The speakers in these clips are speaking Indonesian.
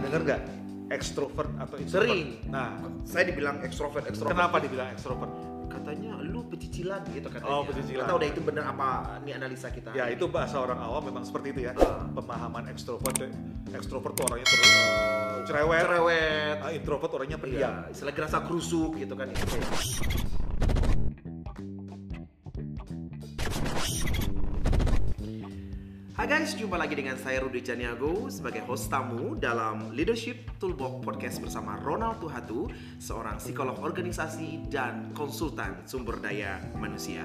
dengar nggak ekstrovert atau introvert? Sering. Nah, Saya dibilang ekstrovert, ekstrovert. kenapa dibilang ekstrovert? Katanya lu pecicilan gitu katanya. Oh, pecicilan. Atau udah itu bener apa ini analisa kita? Ya itu bahasa orang awam memang seperti itu ya. Ah. Pemahaman ekstrovert, ekstrovert tuh orangnya terus cerewet, cerewet. Ah, introvert orangnya pendiam. Iya, istilah gerasa kerusuk gitu kan. Itu kayak- Hai guys, jumpa lagi dengan saya Rudy Janiago sebagai host tamu dalam Leadership Toolbox Podcast bersama Ronald Tuhatu, seorang psikolog organisasi dan konsultan sumber daya manusia.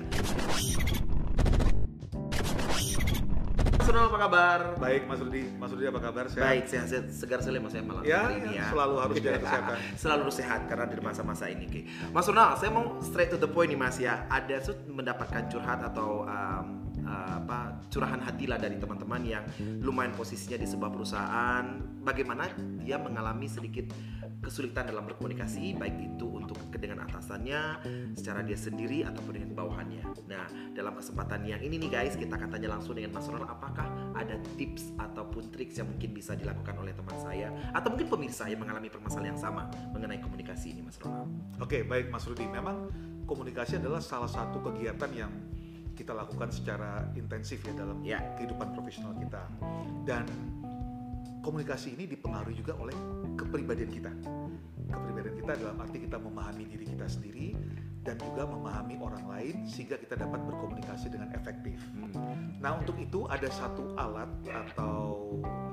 Mas Ronald apa kabar? Baik Mas Rudi, Mas Rudi apa kabar? Sehat? Baik, sehat, sehat segar sekali mas saya malam Ya, hari ini ya, selalu harus jaga kesehatan. selalu harus sehat karena di masa-masa ini. Ki. Mas Ronald, saya mau straight to the point nih mas ya. Ada tuh mendapatkan curhat atau um, uh, apa curahan hati lah dari teman-teman yang lumayan posisinya di sebuah perusahaan. Bagaimana dia mengalami sedikit kesulitan dalam berkomunikasi, baik itu untuk ke- dengan atasannya, secara dia sendiri ataupun dengan bawahannya. Nah, dalam kesempatan yang ini nih guys, kita akan tanya langsung dengan Mas Ronald apakah ada tips ataupun triks yang mungkin bisa dilakukan oleh teman saya atau mungkin pemirsa yang mengalami permasalahan yang sama mengenai komunikasi ini Mas Ronald. Oke, baik Mas Rudi. Memang komunikasi adalah salah satu kegiatan yang kita lakukan secara intensif ya dalam Ya. kehidupan profesional kita. Dan komunikasi ini dipengaruhi juga oleh kepribadian kita. Kepribadian kita dalam arti kita memahami diri kita sendiri dan juga memahami orang lain sehingga kita dapat berkomunikasi dengan efektif. Hmm. Nah, untuk itu ada satu alat atau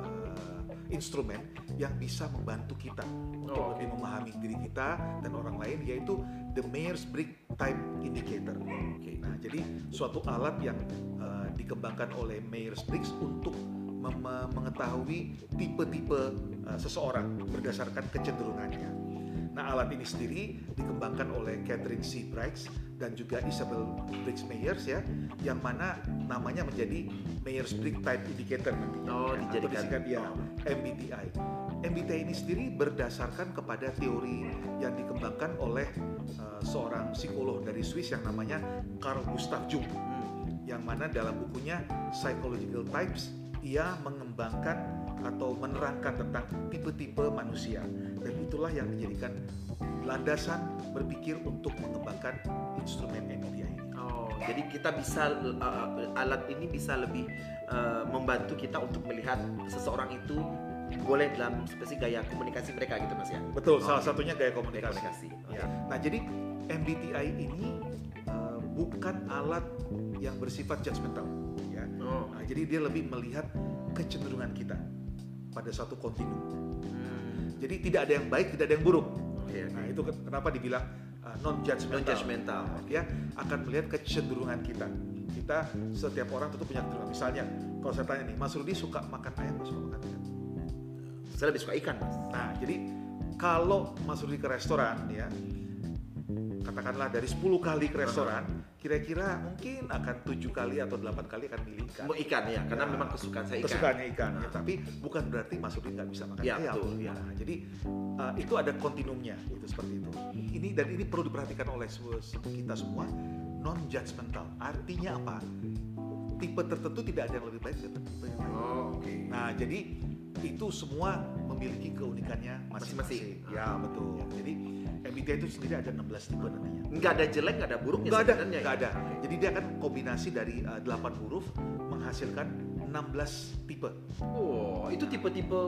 eh, instrumen yang bisa membantu kita untuk Oh, oke. lebih memahami diri kita dan orang lain yaitu the Myers-Briggs Type Indicator. Nah, jadi suatu alat yang eh, dikembangkan oleh Myers-Briggs untuk mem- mengetahui tipe-tipe eh, seseorang berdasarkan kecenderungannya. Nah, alat ini sendiri dikembangkan oleh Catherine C. Briggs dan juga Isabel Briggs Meyers ya, yang mana namanya menjadi Myers-Briggs Type Indicator nantinya. Oh, Atau dijadikan- Hmm. disingkat, ya, MBTI. MBTI ini sendiri berdasarkan kepada teori yang dikembangkan oleh eh, seorang psikolog dari Swiss yang namanya Carl Gustav Jung Hmm. yang mana dalam bukunya Psychological Types ia mengembangkan atau menerangkan tentang tipe-tipe manusia dan itulah yang dijadikan landasan berpikir untuk mengembangkan instrumen MBTI ini. Oh, jadi kita bisa uh, alat ini bisa lebih uh, membantu kita untuk melihat seseorang itu boleh dalam spesi gaya komunikasi mereka gitu Mas ya. Betul, Oh, salah satunya gaya Gaya komunikasi. komunikasi. Ya. Nah, jadi MBTI ini eh, bukan alat yang bersifat judgmental ya. Oh. Nah, jadi dia lebih melihat kecenderungan kita pada satu kontinum. Hmm. Oh, iya, Jadi tidak ada yang baik, tidak ada yang buruk. Oke, oke. Nah, itu ken- kenapa dibilang non judgmental. Non-judgmental. Ya, akan melihat kecenderungan kita. Kita setiap orang tentu punya kecenderungan. Misalnya, kalau saya tanya nih, Mas Rudi suka makan ayam atau suka makan ikan? Saya lebih suka ikan Mas. Nah, jadi kalau Mas Rudi ke restoran ya, katakanlah dari 10 kali ke restoran, kira-kira mungkin akan tujuh kali atau delapan kali akan milih ikan. Mau ikan ya, karena Ya. memang kesukaan saya ikan. Kesukaannya ikan, ya, Nah. tapi bukan berarti Mas Rudi nggak bisa makan Ya, ayam. betul, ya. Nah, jadi uh, itu ada kontinumnya, itu seperti itu. Hmm. Ini dan ini perlu diperhatikan oleh se- se- kita semua non judgmental. Artinya apa? Tipe tertentu tidak ada yang lebih baik daripada tipe yang lain. Oh, oke. Nah, jadi itu semua memiliki keunikannya masing-masing. Masing-masing. Ah. Ya, betul. Jadi MBTI itu sendiri ada 16 tipe namanya. Nggak ada jelek, nggak ada buruknya Nggak ada, sebenarnya, nggak ya? ada. Jadi dia akan kombinasi dari uh, 8 huruf menghasilkan 16 tipe. Wow, Oh, itu tipe-tipe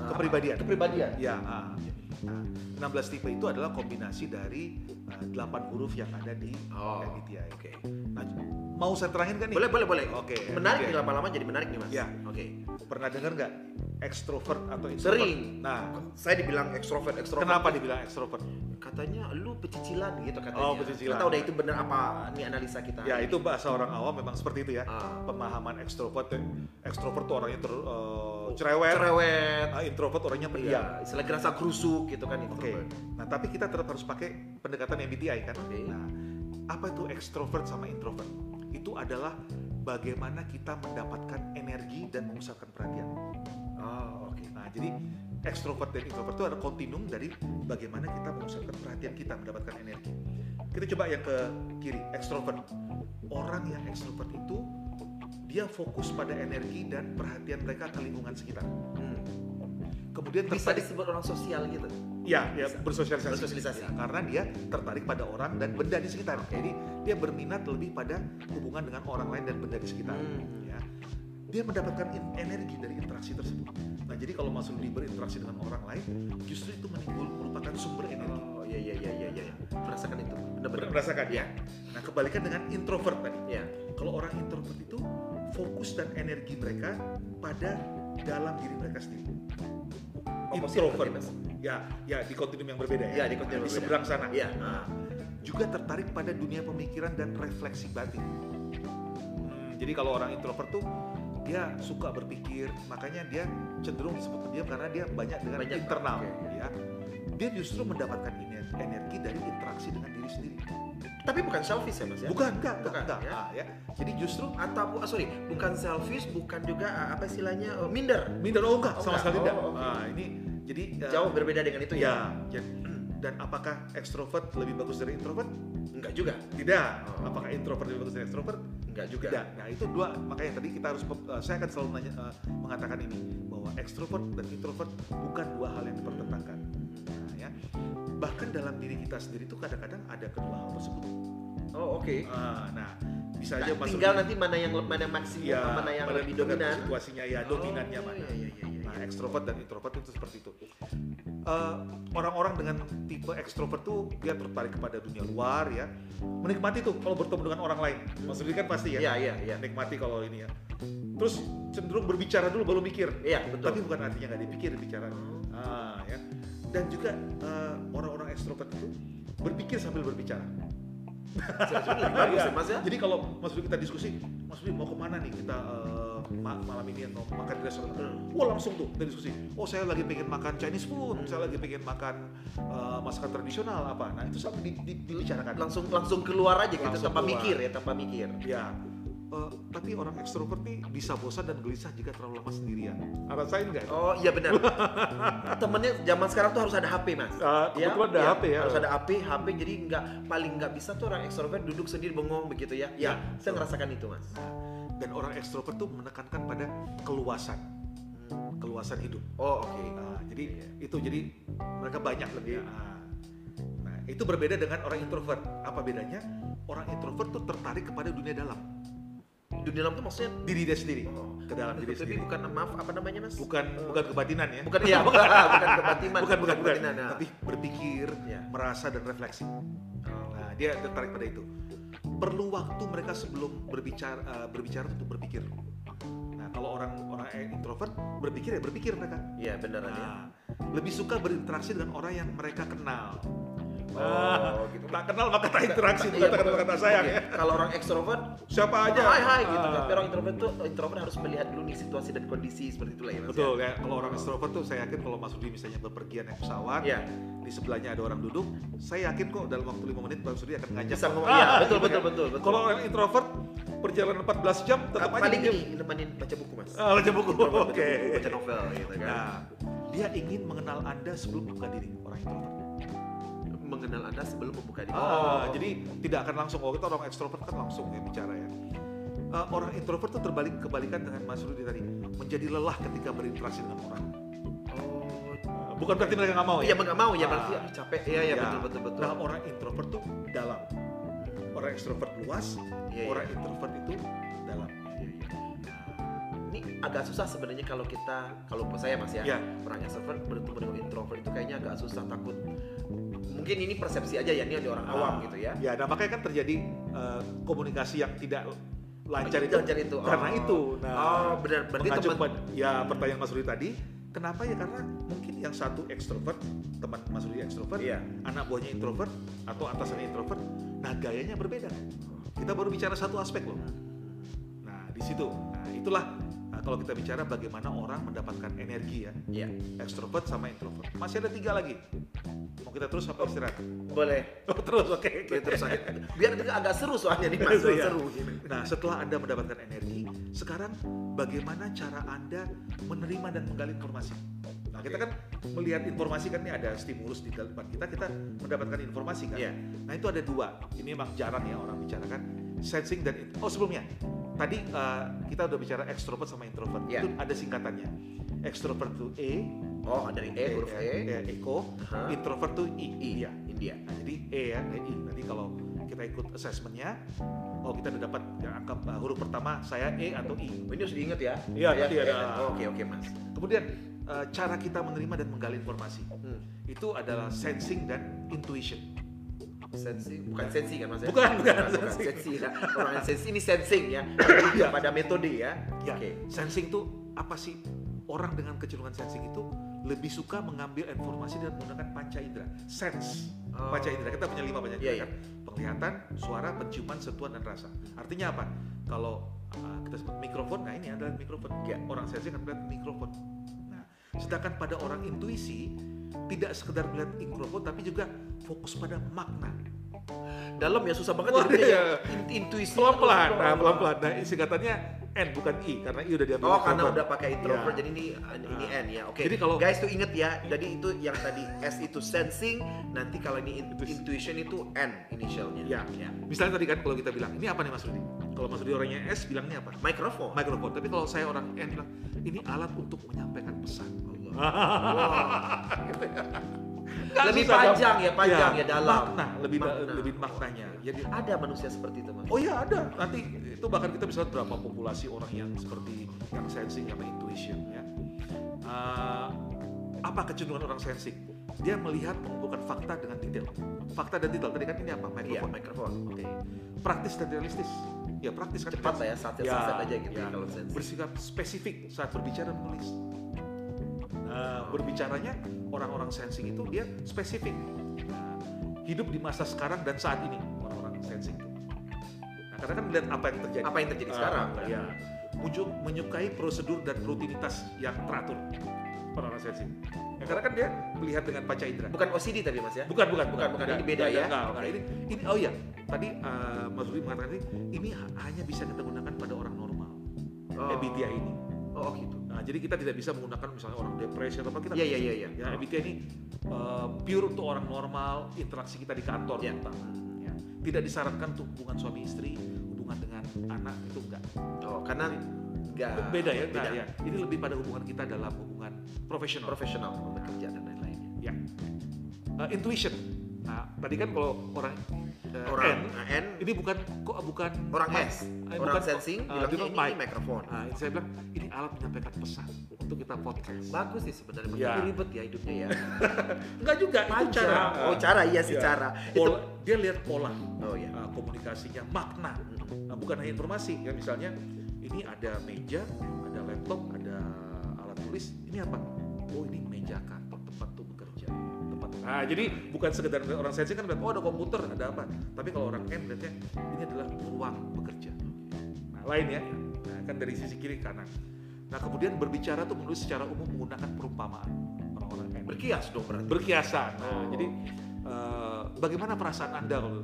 uh, Kepribadian. Kepribadian. Ya, Iya. ah. Nah, 16 tipe itu adalah kombinasi dari uh, 8 huruf yang ada di Oh, MBTI. Oke. Nah, mau saya terangin kan nih? Boleh, boleh, boleh. Oke. Menarik MBTI. nih lama-lama jadi menarik nih, Mas. Ya. Oke. Pernah dengar nggak ekstrovert atau introvert? Sering. Nah, Saya dibilang ekstrovert, ekstrovert. kenapa dibilang ekstrovert? Katanya lu pecicilan gitu katanya. Oh, pecicilan. Atau udah itu bener apa ini analisa kita? Ya itu bahasa orang awam memang seperti itu ya. Nah, Ah. Pemahaman ekstrovert, ekstrovert tuh orangnya ter, eh, cerewet, Oh, Cerewet. Ah, introvert orangnya Iya. pendiam. Istilah gerasa kerusuk gitu kan Oke. introvert. Nah tapi kita tetap harus pakai pendekatan MBTI kan. Oke. Nah apa itu ekstrovert sama introvert? Itu adalah bagaimana kita mendapatkan energi dan mengusapkan perhatian. Oh, oke. Nah jadi ekstrovert dan introvert itu ada kontinum dari bagaimana kita mengusapkan perhatian kita mendapatkan energi. Kita coba yang ke kiri, ekstrovert. Orang yang ekstrovert itu dia fokus pada energi dan perhatian mereka ke lingkungan sekitar. Hmm. kemudian bisa tertarik disebut orang sosial gitu. ya, ya Bisa. bersosialisasi. Bersosialisasi. Ya, karena dia tertarik pada orang dan benda di sekitar. Jadi dia berminat lebih pada hubungan dengan orang lain dan benda di sekitar. Hmm. Ya. Dia mendapatkan in- energi dari interaksi tersebut. Nah, jadi kalau Mas Rudi berinteraksi dengan orang lain, justru itu menimbul merupakan sumber energi. Oh iya iya iya iya iya. Merasakan itu. Benar-benar. Merasakan ya. Ya. Nah, kebalikan dengan introvert tadi. Ya. Kalau orang introvert itu fokus dan energi mereka pada dalam diri mereka sendiri. Opposite Introvert, berarti, ya, ya di kontinum yang berbeda ya. Ya, di Nah, kontinum berbeda. seberang sana. Ya. Nah, juga tertarik pada dunia pemikiran dan refleksi batin. Hmm, jadi kalau orang introvert tuh dia suka berpikir, makanya dia cenderung disebut pendiam karena dia banyak dengan Banyak, internal, oke. ya. Dia justru mendapatkan ener- energi dari interaksi dengan diri sendiri. Tapi bukan selfish ya Mas ya? Bukan, enggak, enggak, Iya. Bukan, enggak. ya. Ah, ya. Jadi justru Atau bu- ah, sorry, bukan selfish, bukan juga ah, apa istilahnya eh, minder. minder oh enggak, Oh, sama enggak. sekali Oh, enggak. oke. Nah, ini jadi eh, Jauh berbeda dengan itu ya. ya? jadi, dan apakah ekstrovert lebih bagus dari introvert? Enggak juga. Tidak. Oh. Apakah introvert lebih bagus dari ekstrovert? Enggak juga. Tidak. Nah, itu dua makanya tadi kita harus pem- eh, saya akan selalu nanya, eh, mengatakan ini bahwa ekstrovert dan introvert bukan dua hal yang dipertentangkan. Nah, ya. Bahkan dalam diri kita sendiri itu kadang-kadang ada kedua hal tersebut. Oh, oke. Ah, nah, bisa aja Nah, masuk tinggal nanti mana yang le- mana yang maksimum, ya, mana yang pada- lebih pada dominan. situasinya ya, dominannya Oh, mana. Iya iya iya iya. Nah, ekstrovert dan introvert itu seperti itu. Eh, Orang-orang dengan tipe ekstrovert tuh dia tertarik kepada dunia luar ya, menikmati tuh kalau bertemu dengan orang lain. Maksudnya kan pasti ya, Iya iya iya. menikmati kalau ini ya. Terus cenderung berbicara dulu baru mikir. Iya, betul. Hmm. Tapi bukan artinya nggak dipikir bicara. Ah, ya. Dan juga eh, orang-orang ekstrovert itu berpikir sambil berbicara. Sebenarnya lebih bagus Iya. ya Mas ya? Jadi kalau Mas Budi kita diskusi, Mas Budi mau kemana nih kita eh, ma- malam ini atau makan di restoran? Wah langsung tuh kita diskusi. Oh saya lagi pengen makan Chinese food, saya lagi pengen makan eh, masakan tradisional apa. Nah itu sampai di- di- dibicarakan. Langsung langsung keluar aja gitu Langsung tanpa keluar. mikir ya, tanpa mikir. Ya. Eh, tapi orang ekstrovert nih bisa bosan dan gelisah jika terlalu lama sendirian. Nah, Rasain nggak? Oh iya benar. Temennya zaman sekarang tuh harus ada HP mas. Ah, Ya, kebetulan ada ya, HP ya. Harus ada HP, HP jadi nggak paling nggak bisa tuh orang ekstrovert duduk sendiri bengong begitu ya. Ya, Ya, saya ngerasakan itu mas. Dan orang ekstrovert tuh menekankan pada keluasan, keluasan hidup. Oh iya. oke. Nah, jadi itu jadi mereka banyak lebih. Nah, Nah, itu berbeda dengan orang introvert. Apa bedanya? Orang introvert tuh tertarik kepada dunia dalam, Dunia dalam tuh maksudnya diri dia sendiri, Oh. ke dalam diri tapi sendiri. bukan maaf apa namanya mas? Bukan bukan kebatinan ya. Oh. Bukan iya bukan bukan kebatiman. bukan bukan, bukan. kebatinan, ya. tapi berpikir, Ya. merasa dan refleksi. Oh. Nah, dia tertarik pada itu. Perlu waktu mereka sebelum berbicara eh, berbicara untuk berpikir. Nah, kalau orang orang introvert berpikir ya berpikir mereka. Iya beneran ya. Nah, lebih suka berinteraksi dengan orang yang mereka kenal. Oh, Nah, gitu. Tak kenal maka tak interaksi, itu Iya, kata betul. Ah, kata sayang Oke, ya. Kalau orang ekstrovert Siapa aja? Hai hai gitu. Ah, Tapi orang introvert tuh introvert harus melihat dulu nih situasi dan kondisi seperti itulah ya mas. Betul ya. Kalau orang extrovert tuh saya yakin kalau Mas Rudi misalnya bepergian naik pesawat, Iya. di sebelahnya ada orang duduk, saya yakin kok dalam waktu 5 menit Mas Rudi akan ngajak Bisa ngomong, Ah, iya, betul, gitu betul, kan. betul, betul. Kalau orang introvert perjalanan 14 jam tetap aja Nah, Paling dia- ini nemenin baca buku mas. Ah, baca buku. Introvert baca Oke. buku, baca novel gitu kan. Nah, dia ingin mengenal Anda sebelum buka diri orang introvert. mengenal Anda sebelum membuka diri. Ah, jadi tidak akan langsung. Kalau kita orang ekstrovert kan langsung ya bicara ya. Eh, orang introvert tuh terbalik kebalikan dengan Mas Rudi tadi, menjadi lelah ketika berinteraksi dengan orang. Eh, Bukan berarti mereka nggak mau Oh, ya. iya nggak mau ya Ah. berarti ah, capek. Iya ya, Ya. betul betul betul. Nah orang introvert tuh dalam, orang ekstrovert luas, Iya, orang introvert itu dalam. Iya, iya. Nah, Ini agak susah sebenarnya kalau kita kalau saya Mas ya, Iya. orang extrovert bertemu dengan introvert itu kayaknya agak susah takut. Mungkin ini persepsi aja ya ini ada orang awam Ah, gitu ya. Ya, nah makanya kan terjadi eh, komunikasi yang tidak lancar itu. Lancar itu. Karena Oh. itu. Nah, Oh, benar. Berarti mengacu teman- pada- ya pertanyaan Mas Rudi tadi, kenapa ya karena mungkin yang satu ekstrovert, teman Mas Rudi ekstrovert, Iya. anak buahnya introvert atau atasannya introvert, nah gayanya berbeda. Kita baru bicara satu aspek loh. Nah, di situ. Nah, itulah nah, kalau kita bicara bagaimana orang mendapatkan energi ya. Iya. Ekstrovert sama introvert. Masih ada tiga lagi. Mau kita terus apa istirahat? Boleh. Oh, terus oke. oke. Oke, terus aja. Biar juga agak seru soalnya nih Mas, Iya. seru gitu. Nah, setelah Anda mendapatkan energi, sekarang bagaimana cara Anda menerima dan menggali informasi? Nah, kita kan melihat informasi kan ini ada stimulus di depan kita, kita mendapatkan informasi kan. Iya. Nah, itu ada dua. Ini memang jarang ya orang bicarakan sensing dan in- oh sebelumnya. Tadi eh, kita udah bicara extrovert sama introvert. Itu Iya. ada singkatannya. Extrovert itu E, Oh, dari E huruf E. ya, Eko, Aha. introvert tuh I, I, Iya. India. Nah, jadi E ya, dan I. Nanti kalau kita ikut assessmentnya, oh kita udah dapat ya, angka uh, huruf pertama saya E atau I. Oh, ini harus diingat ya. Iya, Saya nanti E. ada. Oh, Oke, oke, Mas. Kemudian uh, cara kita menerima dan menggali informasi Hmm. itu adalah sensing dan intuition. Sensi, bukan sensi kan Mas? ya? Bukan, bukan, bukan sensi. sensi ya. Orang yang sensi ini sensing ya. Iya. Pada metode ya. Ya, Oke. sensing tuh apa sih? Orang dengan kecenderungan sensing itu lebih suka mengambil informasi dan menggunakan panca indera. Sense, Oh. panca indera. Kita punya lima panca Iya, indera. kan? Penglihatan, suara, penciuman, sentuhan, dan rasa. Artinya apa? Kalau uh, kita sebut mikrofon, nah ini adalah mikrofon. Iya. Orang sensing akan melihat mikrofon. Nah, sedangkan pada orang intuisi tidak sekedar melihat mikrofon, tapi juga fokus pada makna. Dalam ya susah banget Wah, jadinya iya. ya. In- Intuisi. Pelan-pelan, nah Oh. pelan-pelan. Nah, singkatannya N bukan I karena I udah diambil. Oh karena mikrofon. udah pakai introvert Iya. jadi ini ini Ah. N ya. Oke. Jadi kalau- guys tuh inget ya. Jadi itu yang tadi S itu sensing, nanti kalau ini in- Itu- intuition itu N initialnya. Ya. Iya. Misalnya tadi kan kalau kita bilang, ini apa nih Mas Rudi? Kalau Mas Rudi orangnya S, bilangnya apa? Microphone. Mikrofon. Tapi kalau saya orang N, bilang, ini alat untuk menyampaikan pesan. Wah. Gitu ya. Nggak lebih susah, Iya. panjang ya, panjang ya, dalam. Makna, lebih, da- Makna. lebih maknanya. Jadi, Ada manusia seperti itu mas. oh iya ada. Nanti itu bahkan kita bisa lihat berapa populasi orang yang seperti yang sensing sama intuition ya. Eh, apa kecenderungan orang sensing? Dia melihat mengumpulkan fakta dengan detail. Fakta dan detail. Tadi kan ini apa? Iya, Mikrofon. microphone. Oke. Praktis dan realistis. Ya praktis kan. Cepat lah ya, saat Ya, saat aja gitu ya. ya, kalau sensi. bersikap spesifik saat berbicara dan menulis. Nah, berbicaranya orang-orang sensing itu dia spesifik. Nah, hidup di masa sekarang dan saat ini orang-orang sensing itu. Nah, karena kan melihat apa yang terjadi. Apa yang terjadi Ah, sekarang? kan? Ya. Mujuk menyukai prosedur dan rutinitas yang teratur orang-orang sensing. Ya, karena kan dia melihat dengan panca indera. Bukan OCD tapi mas ya? Bukan, bukan, bukan, bukan. Nggak, Ini beda nggak, ya? nggak, nggak. Oke. Ini, ini, oh ya, tadi eh, Mas Rudi mengatakan ini, ini ha- hanya bisa kita gunakan pada orang normal. Oh. MBTI ini. Oh gitu. Nah, jadi kita tidak bisa menggunakan misalnya orang depresi atau apa kita. Iya iya iya iya. Ya, MBTI ini eh, pure untuk orang normal, interaksi kita di kantor Iya. terutama. Ya. Tidak disarankan untuk hubungan suami istri, hubungan dengan anak itu enggak. Oh karena nggak beda ya, beda. Nah, ya. Ini lebih pada hubungan kita dalam hubungan profesional. Profesional bekerja dan lain-lainnya. ya. Eh, intuition. Nah, tadi kan kalau orang eh, Orang N, N, ini bukan kok bukan orang mic. S, Eh, orang bukan- sensing, eh, bilangnya bukan ini, mic. ini microphone. Nah, ini saya bilang ini alat menyampaikan pesan untuk kita podcast. Bagus sih sebenarnya, Iya. tapi ribet ya hidupnya ya. Enggak juga, itu Panjang. cara. Oh cara iya sih Iya. cara. Itu. Pola- dia lihat pola Oh ya. uh, komunikasinya, makna, Nah, bukan hanya informasi. Ya misalnya ini ada meja, ada laptop, ada alat tulis. Ini apa? Oh ini meja kantor tempat tuh bekerja. Tempat. Nah jadi bukan sekedar orang sensing kan melihat oh ada komputer, ada apa. Tapi kalau orang N melihatnya ini adalah ruang bekerja. Nah lain ya. Nah, kan dari sisi kiri ke kanan. Nah kemudian berbicara tuh menulis secara umum menggunakan perumpamaan orang-orang N Berkias dong berarti. berkiasan. Nah, Oh. jadi eh, bagaimana perasaan Anda kalau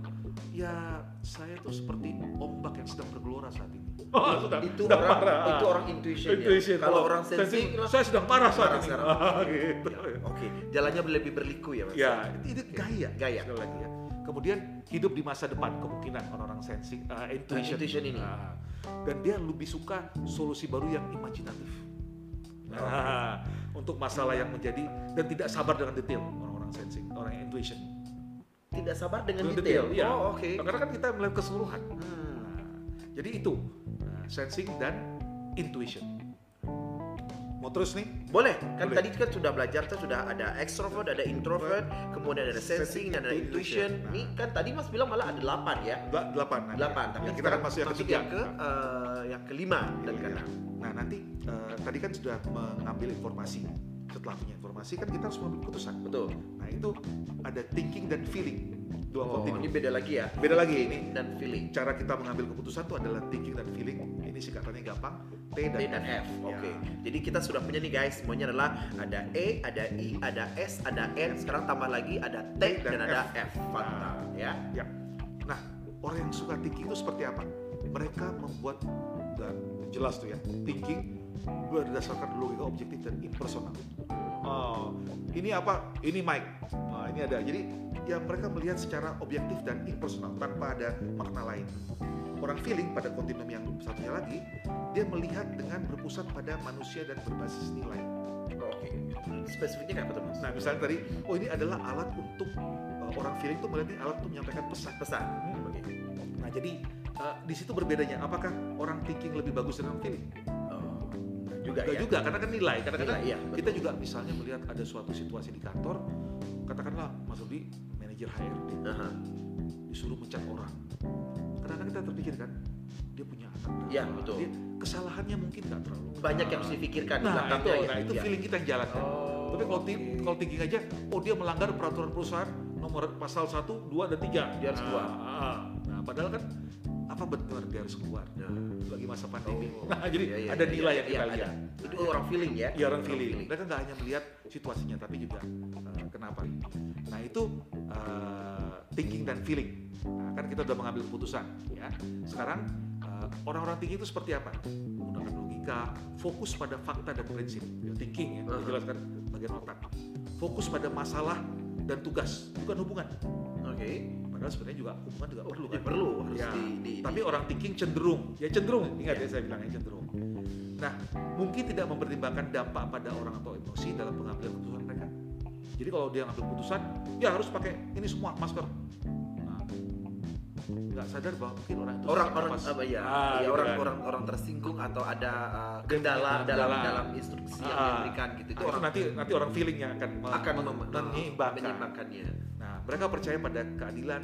ya saya tuh seperti ombak yang sedang bergelora saat ini. Oh, sudah, itu sudah orang parah. itu orang intuition, Intuition. Oh, ya. Kalau orang sensing saya sedang parah Parah saat ini. sekarang. Ah, gitu. Ya, Oke, jalannya lebih berliku ya mas. Ya, itu itu gaya. Gaya. Sekali lagi ya. Kemudian hidup di masa depan kemungkinan orang-orang sensing eh, intuition. Nah, intuition ini. Ah. dan dia lebih suka solusi baru yang imajinatif. Nah, untuk masalah yang menjadi dan tidak sabar dengan detail orang-orang sensing, orang yang intuition. Tidak sabar dengan Dengan detail. iya. Oh oke. Karena kan kita melihat keseluruhan. Hmm. Nah, jadi itu nah, sensing dan intuition. Mau terus nih? Boleh, kan Boleh. tadi kan sudah belajar tuh sudah ada extrovert, ada introvert, kemudian ada sensing, dan ada intuition. Nah. Ini kan tadi Mas bilang malah ada 8 ya. Dela- Delapan. nanti. 8, tapi Ya, kita kan masuk yang ketiga. yang ke eh, yang kelima dan Iya. keenam. Nah nanti eh, tadi kan sudah mengambil informasi. Setelah punya informasi kan kita harus mengambil keputusan. Betul. Nah itu ada thinking dan feeling dua Oh, kontinu. ini beda lagi ya. Beda lagi ini. Dan feeling. Cara kita mengambil keputusan itu adalah thinking dan feeling. Ini singkatannya gampang. T dan, D dan F. Ya. Oke. Jadi kita sudah punya nih guys, semuanya adalah ada E, ada I, ada S, ada N. Sekarang tambah lagi ada T D dan dan, ada F. F. Mantap ya. Ya. Nah, orang yang suka thinking itu seperti apa? Mereka membuat dan jelas tuh ya, thinking berdasarkan logika objektif dan impersonal. Oh, ini apa? Ini mic. Nah, ini ada. Jadi ya mereka melihat secara objektif dan impersonal tanpa ada makna lain. Orang feeling pada kontinum yang satunya lagi, dia melihat dengan berpusat pada manusia dan berbasis nilai. Oke. Spesifiknya kayak apa tuh mas? Nah, misalnya tadi, oh ini adalah alat untuk uh, orang feeling tuh melihat ini alat untuk menyampaikan pesan. Pesan. Oke. Nah, jadi uh, di situ berbedanya. Apakah orang thinking lebih bagus dari orang feeling? Oh, juga Nggak ya. juga, karena kan nilai. Kadang-kadang Nilai, iya, kita juga misalnya melihat ada suatu situasi di kantor, katakanlah Mas Rudi, manajer HRD, Aha. disuruh mencat orang. Kadang-kadang kita terpikir kan, dia punya anak. berapa? Iya, betul. Dia- kesalahannya mungkin nggak terlalu. Banyak yang harus difikirkan di Nah, itu, belakangnya ya. nah, itu Iya. feeling kita yang jalan. kan? Oh, Tapi kalau tim, oke. kalau thinking aja, oh dia melanggar peraturan perusahaan nomor pasal 1, 2, dan 3. Dia harus Nah, keluar. ah. Nah, padahal kan apa benar dia harus keluar Nah. bagi masa pandemi. Oh. Nah, jadi Iya, iya, ada iya, nilai iya, yang iya, kita ada. lihat. Itu orang feeling ya. Ya orang feeling. Mereka nggak hanya melihat situasinya, tapi juga eh, kenapa. Nah itu eh, thinking dan feeling. Nah, kan kita udah mengambil keputusan. Ya. Sekarang eh, orang-orang thinking itu seperti apa? Menggunakan logika, fokus pada fakta dan prinsip. Ya, thinking ya, Uh-huh. dijelaskan bagian otak. Fokus pada masalah dan tugas, bukan hubungan. Oke. Padahal sebenarnya juga hubungan juga perlu Ya kan? perlu harus Ya, di, di tapi orang thinking cenderung ya cenderung ingat ya saya bilangnya cenderung nah mungkin tidak mempertimbangkan dampak pada orang atau emosi dalam pengambilan keputusan mereka jadi kalau dia ngambil keputusan ya harus pakai ini semua masker Nah, nggak sadar bahwa mungkin orang itu orang-orang sesak napas. apa ya? Ah, ya gitu kan. orang-orang orang tersinggung atau ada uh, kendala Kendala. dalam dalam instruksi yang Ah. diberikan gitu. Nah, Itu itu orang nanti nanti orang feelingnya akan me- akan me- mem- menyeimbangkan. menyeimbangkannya. nah mereka percaya pada keadilan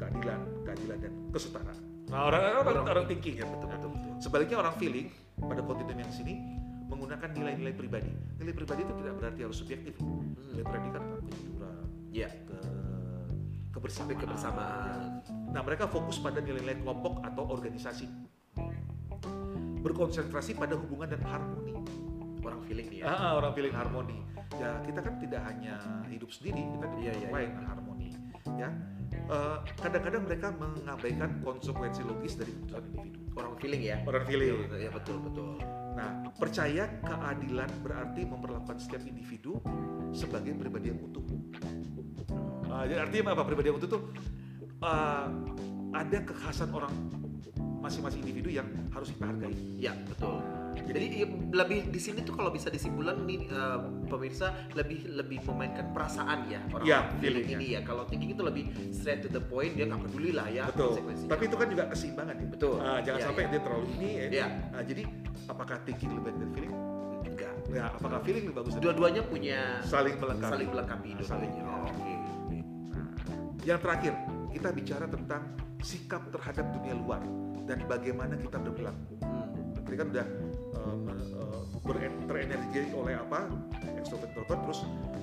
keadilan keadilan dan kesetaraan nah orang orang orang, Iya. thinking Ya betul betul. betul. Sebaliknya orang feeling pada kontinum yang sini menggunakan nilai-nilai pribadi. Nilai pribadi itu tidak berarti harus subjektif. Hmm. Nilai pribadi kan tentang kejujuran, Ya, ke kebersamaan. kebersamaan. Nah mereka fokus pada nilai-nilai kelompok atau organisasi. Berkonsentrasi pada hubungan dan harmoni. Orang feeling nih ya. Ah, ah, orang feeling harmoni. Ya kita kan tidak hanya hidup sendiri, kita juga Iya, orang iya, lain nah, harmoni. Ya Eh, kadang-kadang mereka mengabaikan konsekuensi logis dari keputusan individu. Orang feeling ya. Orang Ya betul betul. Nah, percaya keadilan berarti memperlakukan setiap individu sebagai pribadi yang utuh. Ah, jadi artinya apa pribadi yang utuh tuh ah, ada kekhasan orang masing-masing individu yang harus kita hargai. Ya betul. Jadi i- lebih di sini tuh kalau bisa disimpulan nih eh, pemirsa lebih lebih memainkan perasaan ya orang Ya, feeling feeling-nya. ini ya. Kalau thinking itu lebih straight to the point dia nggak peduli lah ya konsekuensinya. Tapi itu kan juga keseimbangan ya. Betul. Ah, jangan Ya, sampai ya. dia terlalu ini. Ya. Ya. Ah, jadi apakah thinking lebih baik dari feeling? enggak. Ya, apakah feeling lebih bagus dari Dua-duanya punya saling melengkapi? saling melengkapi Ah, saling. dua-duanya. Oke. Ah. Yang terakhir, kita bicara tentang sikap terhadap dunia luar dan bagaimana kita berperilaku. Hmm. Tadi kan udah eh, me- eh, beren- terenergi oleh apa? Extrovert introvert terus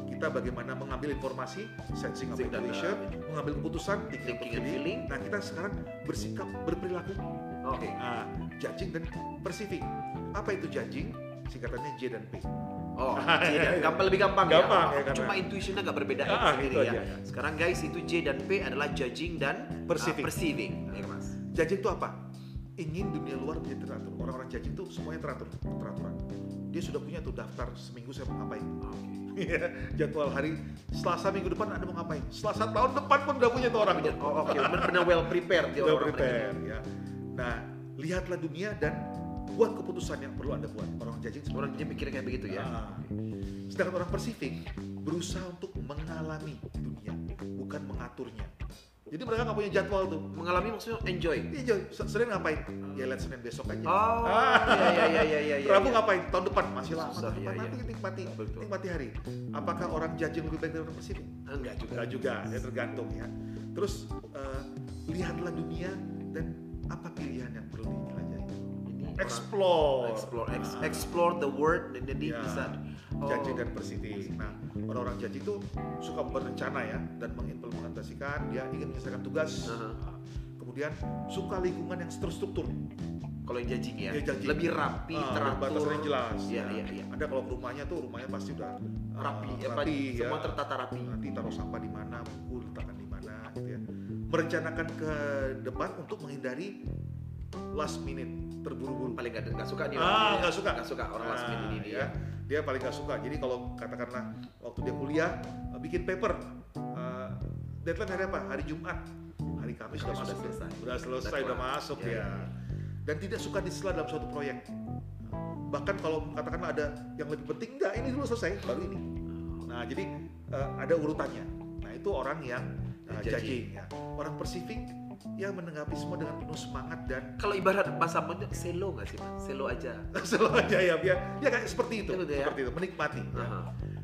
kita bagaimana mengambil informasi, sensing of Sensing data. information, mengambil keputusan, thinking, Thinking and and feeling. Nah, kita sekarang bersikap berperilaku Oke. ah, judging dan perceiving. Apa itu judging? Singkatannya J dan P. Oh, J dan gampang lebih gampang, Gampang ya. ya, karena- Cuma intuitionnya agak berbeda Ah, aja gitu sendiri ya. aja. Sekarang guys itu J dan P adalah judging dan Perceiving. ah, perceiving. Ya, Mas. Judging itu apa? Ingin dunia luar menjadi teratur. Orang-orang judging itu semuanya teratur, teraturan. Dia sudah punya tuh daftar seminggu saya mau ngapain. Iya, Oke. Jadwal hari Selasa minggu depan Anda mau ngapain? Selasa tahun depan pun udah punya tuh orang. Punya- Oh, oke. benar Benar well prepared dia Udah orang-orang mereka. prepare ya. Nah, lihatlah dunia dan buat keputusan yang perlu Anda buat. Orang judging seperti Orang dia mikir kayak begitu itu ya. ya. Sedangkan orang Pacific berusaha untuk mengalami dunia, bukan mengaturnya. Jadi mereka nggak punya jadwal tuh. Mengalami maksudnya enjoy. Iya, Joy, Se- Senin ngapain? Ya lihat Senin besok aja. Oh, Ah. iya iya iya iya iya. Rabu iya. ngapain? Tahun depan masih lama. Susah, iya, Nanti iya. nikmati, Betul. nikmati hari. Apakah orang judging lebih baik dari orang Pacific? Enggak juga. Enggak juga, ya tergantung ya. Terus eh, lihatlah dunia dan apa pilihan yang perlu dijelajahi. Ini orang- Explore. explore ex- Nah, explore the world dan jadi Ya. bisa Oh. Judging dan perceiving. Nah, orang-orang judging itu suka berencana ya dan mengimplementasikan. Dia ingin menyelesaikan tugas. Uh-huh. Nah, Kemudian suka lingkungan yang terstruktur. kalau yang judging ya, Dia Iya, judging. lebih rapi, Ah, teratur, batasannya jelas. Iya Nah, iya iya. Anda kalau ke rumahnya tuh rumahnya pasti udah eh, Rapi, apa, rapi ya. semua tertata rapi. nanti taruh sampah di mana, buku letakkan di mana, gitu ya. Merencanakan ke depan untuk menghindari last minute terburu-buru. Paling gak, nggak suka nih Ah, orang nggak suka. Gak Iya. suka orang last minute Nah, ini dia. ya. Dia paling nggak suka. Jadi kalau katakanlah waktu dia kuliah eh, bikin paper, eh, deadline hari apa? Hari Jumat, hari Kamis, sudah Kamis masuk, sudah sudah selesai, selesai. Iya, ya. Sudah sudah kelar. masuk Ya, ya. Dan tidak suka disela dalam suatu proyek. bahkan kalau katakanlah ada yang lebih penting enggak ini dulu selesai baru ini nah jadi eh, ada urutannya nah itu orang yang eh, Judging. judging ya orang perceiving ya menanggapi semua dengan penuh semangat dan Kalau ibarat bahasa Belanda, selo nggak sih Pak? Selo aja. selalu aja ya biar ya kayak seperti itu Itu dia. seperti itu menikmati ya. Aha.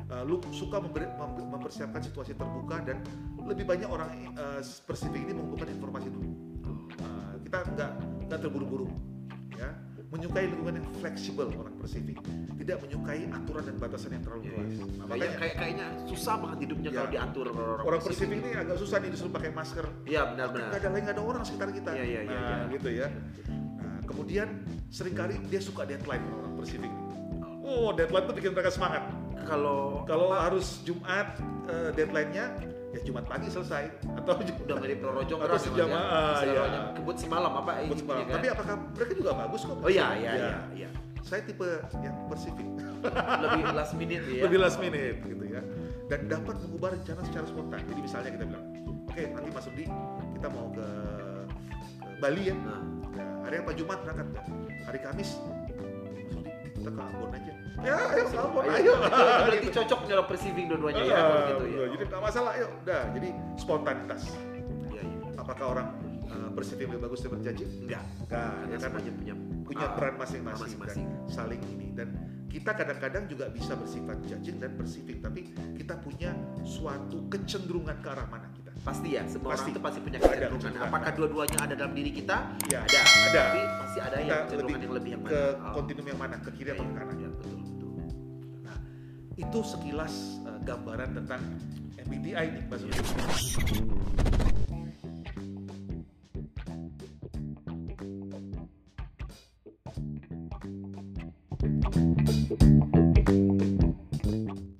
Eh, lu suka memberi- mem- mempersiapkan situasi terbuka dan lebih banyak orang eh, perceiving ini mengumpulkan informasi dulu Uh, kita nggak nggak terburu-buru ya menyukai lingkungan yang fleksibel orang Persifik tidak menyukai aturan dan batasan yang terlalu Iya, luas iya. nah, Kayak, makanya kayak kayaknya susah banget hidupnya Iya. kalau diatur orang, orang Kan Persib. Persifik ini agak susah nih disuruh pakai masker Iya nggak benar-benar. ada lain nggak ada orang sekitar kita Iya, iya, iya, nah iya. gitu ya nah, kemudian seringkali dia suka deadline orang Persifik oh deadline tuh bikin mereka semangat Kalau kalau harus Jumat eh, deadline-nya ya Jumat pagi selesai atau udah nggak di pelorojong atau sejamaah, ya. kebut semalam apa ini Jumat malam. kan? tapi apakah mereka juga bagus kok oh iya Ya. iya iya iya. saya tipe yang Persifik lebih last minute ya lebih last minute gitu ya dan dapat mengubah rencana secara spontan jadi misalnya kita bilang oke nanti Mas Rudi kita mau ke, ke Bali ya nah, Nah, hari apa Jumat berangkat ya hari Kamis Mas Rudi kita ke Ambon aja ya ayo ke Ambon ayo itu berarti cocok nyolok perceiving dua-duanya ya kalau Ah, gitu ya jadi nggak masalah ayo udah jadi spontanitas Iya, iya. apakah orang uh, bersedih lebih bagus daripada janji enggak enggak karena ya kan semuanya punya punya ah, peran masing-masing masing-masing. dan saling ini dan kita kadang-kadang juga bisa bersifat judging dan bersifik tapi kita punya suatu kecenderungan ke arah mana kita pasti ya semua Pasti. orang itu pasti punya Ada kecenderungan kecenderungan. apakah dua-duanya ada dalam diri kita ya ada ada. tapi pasti Kita ada yang Iya, kecenderungan lebih yang lebih yang ke Ah, kontinum yang mana ke kiri iya, atau ke kanan iya, betul betul Nah, itu sekilas eh, gambaran tentang MBTI nih Mas Udi.